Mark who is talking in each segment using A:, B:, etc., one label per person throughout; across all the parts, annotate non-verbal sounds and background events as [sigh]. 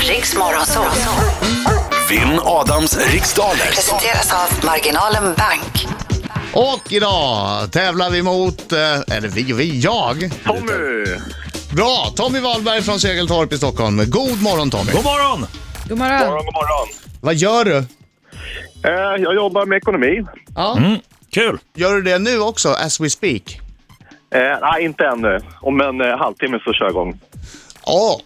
A: Riks Morgonzoo.
B: Vinn Adams riksdaler.
A: Presenteras av Marginalen Bank.
C: Och idag tävlar vi mot, eh, eller vi, vi, jag.
D: Tommy!
C: Bra, Tommy Wahlberg från Segeltorp i Stockholm. God morgon Tommy.
E: God morgon!
F: God morgon.
D: God morgon.
C: Vad gör du?
D: Eh, jag jobbar med ekonomi.
C: Ja.
E: Kul!
C: Gör du det nu också, as we speak?
D: Eh, nej, inte ännu. Om en eh, halvtimme så kör jag igång.
C: Ja.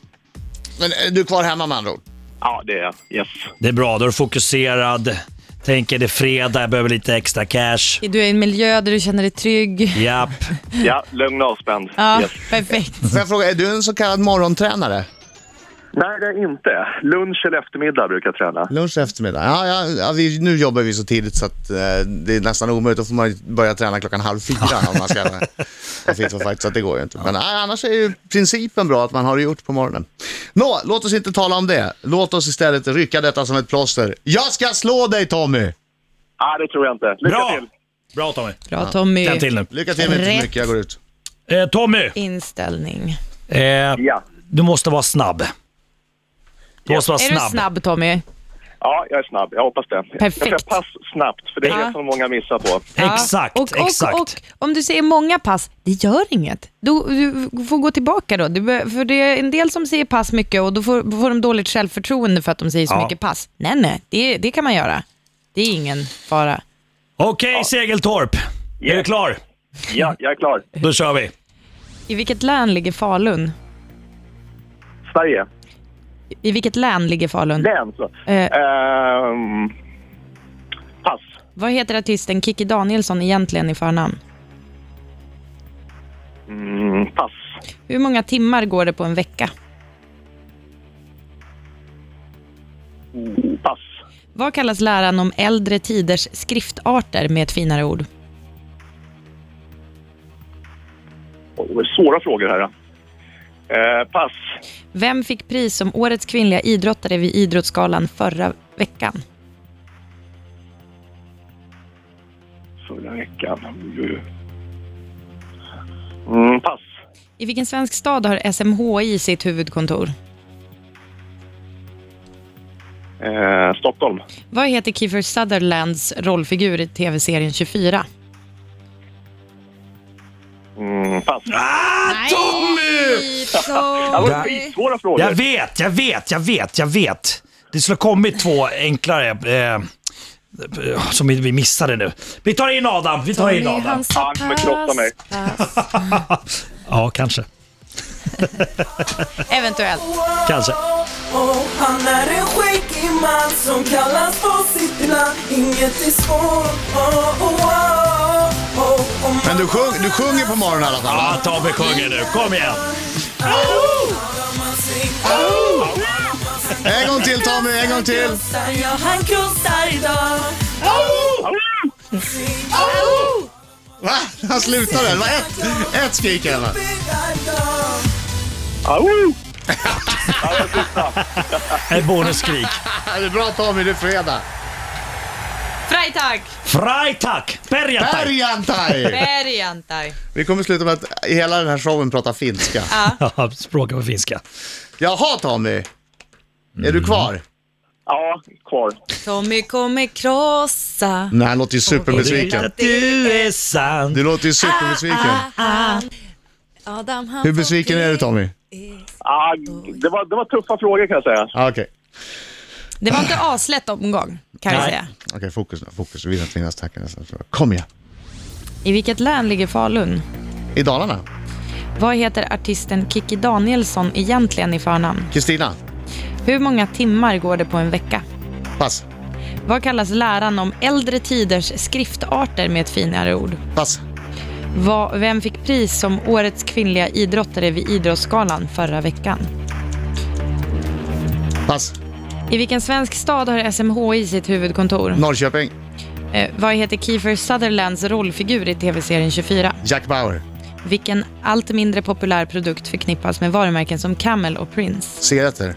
C: Men är du kvar hemma med andra ord?
D: Ja, det är jag. Yes.
E: Det är bra, då är du fokuserad. Tänker det är fredag, jag behöver lite extra cash.
F: Du är i en miljö där du känner dig trygg.
E: Japp.
D: Ja, lugn och avspänd.
F: Ja,
D: Yes.
F: perfekt.
C: Får jag fråga, är du en så kallad morgontränare?
D: Nej, det är jag inte. Lunch eller eftermiddag brukar jag träna.
C: Lunch och eftermiddag? Ja, ja, ja vi, nu jobbar vi så tidigt så att eh, det är nästan omöjligt. Då får man ju börja träna klockan halv fyra om man ska vara fit for fight, så att det går ju inte. Men nej, annars är ju principen bra att man har det gjort på morgonen. Nå, låt oss inte tala om det. Låt oss istället rycka detta som ett plåster. Jag ska slå dig Tommy!
D: Nej, det tror jag inte. Lycka
E: Bra!
D: till!
E: Bra Tommy.
F: Bra Tommy.
E: En till nu.
C: Lycka till med inte så
F: Rätt.
C: mycket, jag går ut.
E: Eh, Tommy,
F: Inställning.
E: eh,
D: Ja.
E: du måste vara snabb. Du måste vara
F: Är du
E: snabb.
F: snabb Tommy?
D: ja, jag är snabb. Jag hoppas det.
F: Perfekt.
D: Jag ska pass snabbt, för det är
F: Ja.
D: det som många missar på.
F: Ja.
E: Exakt,
F: och, och,
E: exakt.
F: Och om du säger många pass, det gör inget. Du, du får gå tillbaka då. Du, be- för det är en del som säger pass mycket och då får, får de dåligt självförtroende för att de säger så
E: Ja.
F: mycket pass. Nej, nej, det, det kan man göra. Det är ingen fara.
E: Okej Segeltorp, är du
D: Yeah.
E: klar?
D: Ja, jag är klar.
E: Då kör vi.
F: I vilket län ligger Falun?
D: Sverige.
F: I vilket län ligger Falun?
D: Län, så.
F: Eh.
D: Ehm, pass.
F: Vad heter artisten Kikki Danielsson egentligen i förnamn?
D: Mm, pass.
F: Hur många timmar går det på en vecka?
D: Mm, Pass.
F: Vad kallas läran om äldre tiders skriftarter med ett finare ord?
D: Oj, Svåra frågor här. Eh, pass.
F: Vem fick pris som årets kvinnliga idrottare vid Idrottsgalan förra veckan?
D: Förra veckan. Mm, pass.
F: I vilken svensk stad har SMHI sitt huvudkontor?
D: Eh, Stockholm.
F: Vad heter Kiefer Sutherlands rollfigur i tv-serien 24?
D: Mm, pass.
F: Nej, Tommy!
D: Det var
E: Där-
D: skitsvåra frågor.
E: Jag vet, jag vet, jag vet, jag vet. Det skulle ha kommit två enklare eh, som vi- vi missade nu. Vi tar in Adam, vi tar in Adam.
D: Han kommer krossa mig.
E: [laughs] Ja, kanske.
F: Eventuellt.
E: Kanske.
G: Och han är en skäggig man som kallas på sitt namn Inget är svårt, oh, oh, oh, oh, oh.
C: Men du, sjung, du sjunger på morgonen i alla fall?
E: Ja,
C: va?
E: Tommy sjunger nu. Kom igen.
C: En gång till Tommy, Eh, en gång till!
G: Ja, han krossar idag
C: Va? Han slutade? Det var ett, ett skrik eller? vad?
D: Au!
E: Ett bonusskrik.
C: Ja, Det är bra Tommy, det är fredag.
F: Freitag!
E: Freitag! Perjantaj!
C: Perjantaj!
F: Bergentaj.
C: Vi kommer sluta med att hela den här showen pratar finska.
E: Ja, språket på finska.
C: Jaha Tommy, är du kvar?
D: Ja, kvar.
F: Tommy kommer krossa
C: Nej, han låter ju superbesviken.
E: Att du är sann.
C: Du låter ju superbesviken.
F: Adam han
C: Hur besviken
F: Alltså,
C: är du Tommy?
D: Ah, det, var, det var tuffa frågor kan jag säga.
C: Ah, Okej,
F: Det var inte aslätt omgång, kan jag
E: Nej.
F: säga.
C: Okej, fokus nu. Fokus. Vi vill att finnas tackar nästan. Kom igen.
F: I vilket län ligger Falun?
C: I Dalarna.
F: Vad heter artisten Kikki Danielsson egentligen i förnamn?
C: Kristina.
F: Hur många timmar går det på en vecka?
C: Pass.
F: Vad kallas läran om äldre tiders skriftarter med ett finare ord?
C: Pass.
F: Vad, vem fick pris som årets kvinnliga idrottare vid Idrottsgalan förra veckan?
C: Pass.
F: I vilken svensk stad har SMHI sitt huvudkontor?
C: Norrköping.
F: Eh, vad heter Kiefer Sutherlands rollfigur i tv-serien 24?
C: Jack Bauer.
F: Vilken allt mindre populär produkt förknippas med varumärken som Camel och Prince?
C: Cigaretter.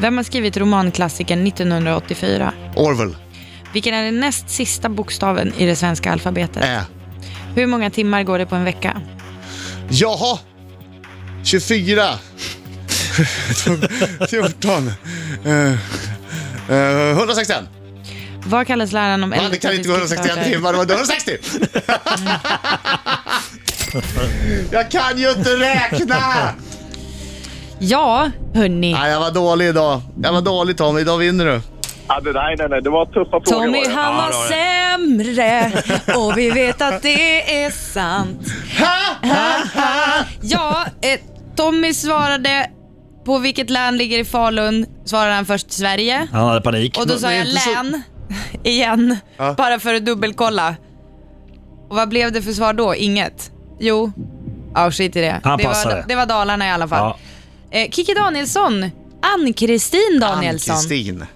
F: Vem har skrivit romanklassikern 1984?
C: Orwell.
F: Vilken är den näst sista bokstaven i det svenska alfabetet?
C: Äh.
F: Hur många timmar går det på en vecka?
C: [laughs] Jaha. 24. 14. Eh, eh, 161.
F: Vad kallas läraren om
C: Man, det kan inte gå 161
F: diskriminatorer?
C: timmar, det var 160.
E: Mm.
C: jag kan ju inte
E: [laughs]
C: räkna!
F: Ja, hörni.
C: Nej, jag var dålig idag. Jag var dålig Tommy, idag vinner du.
D: Ja, Ah, det, nej, nej, nej, det var tuffa frågor. var
F: Tommy
D: det.
F: han
E: Ja,
F: var
E: det var det.
F: sämre
C: [laughs]
F: och vi vet att det är sant. Ja, eh, Tommy svarade på vilket län ligger i Falun, svarade han först Sverige.
E: Han hade panik.
F: Och då sa
C: det är
F: jag
C: inte så-
F: län [laughs] igen,
C: Ja.
F: bara för att dubbelkolla. Och vad blev det för svar då? Inget? Jo, ja skit i det.
E: Han
F: det,
E: passade.
F: var, det var Dalarna i alla fall.
E: Ja.
F: Eh, Kiki Danielsson, Ann-Kristin Danielsson.
C: Ann-Kristin.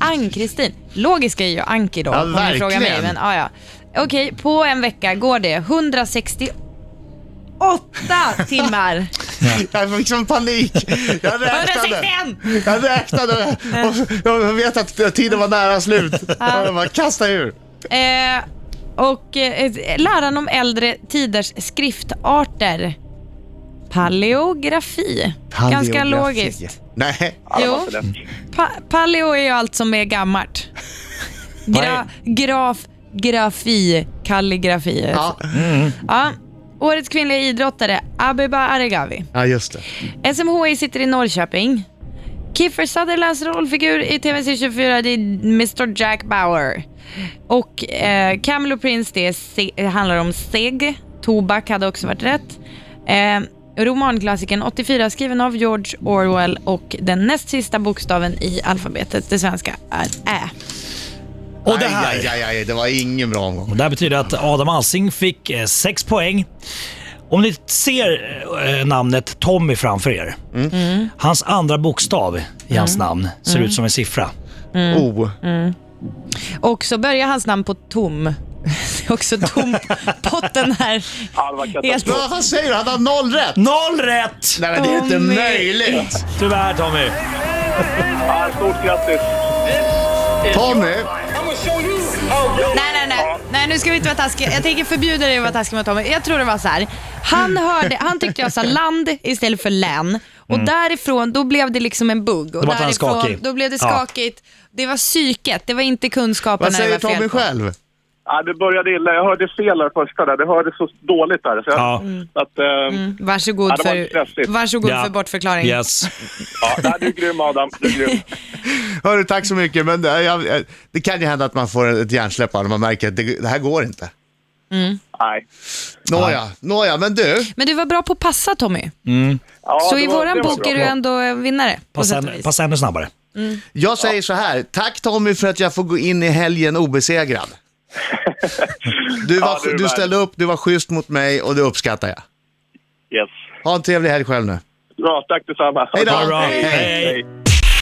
F: Ann-Kristin. Logiska är ju Anki då,
C: Ja,
F: om ni frågar mig.
C: verkligen.
F: Men, ah, ja. Okej, på en vecka går det 168
C: [laughs]
F: timmar.
C: Jag fick sån panik. Jag räknade.
F: 161!
C: Jag räknade och jag vet att tiden var nära slut. Jag bara kastade ur.
F: Eh, och eh, läran om äldre tiders skriftarter. Paleografi. Ganska
C: Paleografi.
F: logiskt.
C: Nej.
D: Ja, Ah, det var
F: Jo.
D: inte lätt.
F: Pa paleo är ju allt som
D: [laughs]
F: är gammalt. Gra graf, grafi, kalligrafi.
C: Ja.
E: Alltså.
F: Ja. Årets kvinnliga idrottare, Abeba Aregawi.
C: ja, just det.
F: SMHI sitter i Norrköping. Kiefer Sutherlands rollfigur i TVC 24 det är Mr Jack Bauer. Och eh, Camel och Prince det är se- det handlar om seg. Tobak hade också varit rätt. Eh, romanklassikern 84 skriven av George Orwell och den näst sista bokstaven i alfabetet, det svenska, är Ä.
E: Och det här.
C: Aj, aj, aj, det var ingen bra omgång.
E: Och det här betyder att Adam Alsing fick 6 poäng. Om ni ser eh, namnet Tommy framför er.
C: Mm.
E: Hans andra bokstav i hans namn ser ut som en siffra. Mm.
C: O.
F: Och så börjar hans namn på Tom. [laughs] Det är också tom potten här.
D: Ja, det var
C: Men
D: katastrof.
C: vad fan säger du? Han har noll rätt!
E: Noll rätt!
C: Nej men det är inte
F: Tommy.
C: möjligt!
E: Tyvärr Tommy.
D: Ja, Ah, stort grattis.
C: Tommy!
F: Nej, nej, nej. Nej, nu ska vi inte vara taskiga. Jag tänker förbjuda dig att vara taskig mot Tommy. Jag tror det var så här. Han, hörde, han tyckte jag sa land istället för län. Och därifrån, då blev det liksom en bugg. Och
E: Då vart han
F: därifrån,
E: skakig.
F: då blev det
E: Ja.
F: skakigt. Det var psyket, det var inte kunskapen
C: Vad
F: när
C: säger
F: det var fel
C: Tommy
F: på.
C: själv?
D: Ja, Ah, det började illa. Jag hörde fel där första. Där. Det hördes så dåligt där. Så jag,
E: Ja.
C: Mm.
D: att, eh,
F: Mm. Varsågod,
D: Ja, det var
F: för,
D: stressigt.
F: varsågod
E: Ja.
F: för bortförklaring.
E: Yes.
D: ja, nej, du är grym, Adam. Du är
F: [laughs]
D: grym.
C: Hörru, tack så mycket. Men det, jag, jag- det kan ju hända att man får ett hjärnsläpp när man märker att det, det här går inte.
D: Nej.
C: Nåja, nåja, men du.
F: Men du var bra på att passa Tommy.
D: Ja,
F: Så
D: det
F: i
D: var- det
F: våran
D: var
F: bok
D: bra.
F: är du ändå en vinnare. På
E: Passa,
F: sätt och vis.
E: passa ännu snabbare.
C: Jag säger så här. Tack Tommy för att jag får gå in i helgen
D: [laughs]
C: obesegrad. Du, var,
D: Ja, du är
C: du
D: värd.
C: ställde upp, du var schysst mot mig och det uppskattar jag.
D: Yes.
C: Ha en trevlig helg själv nu.
D: Bra, tack detsamma.
C: Hej då!
E: Bra, bra.
C: Hej.
E: Hej.
D: Hej.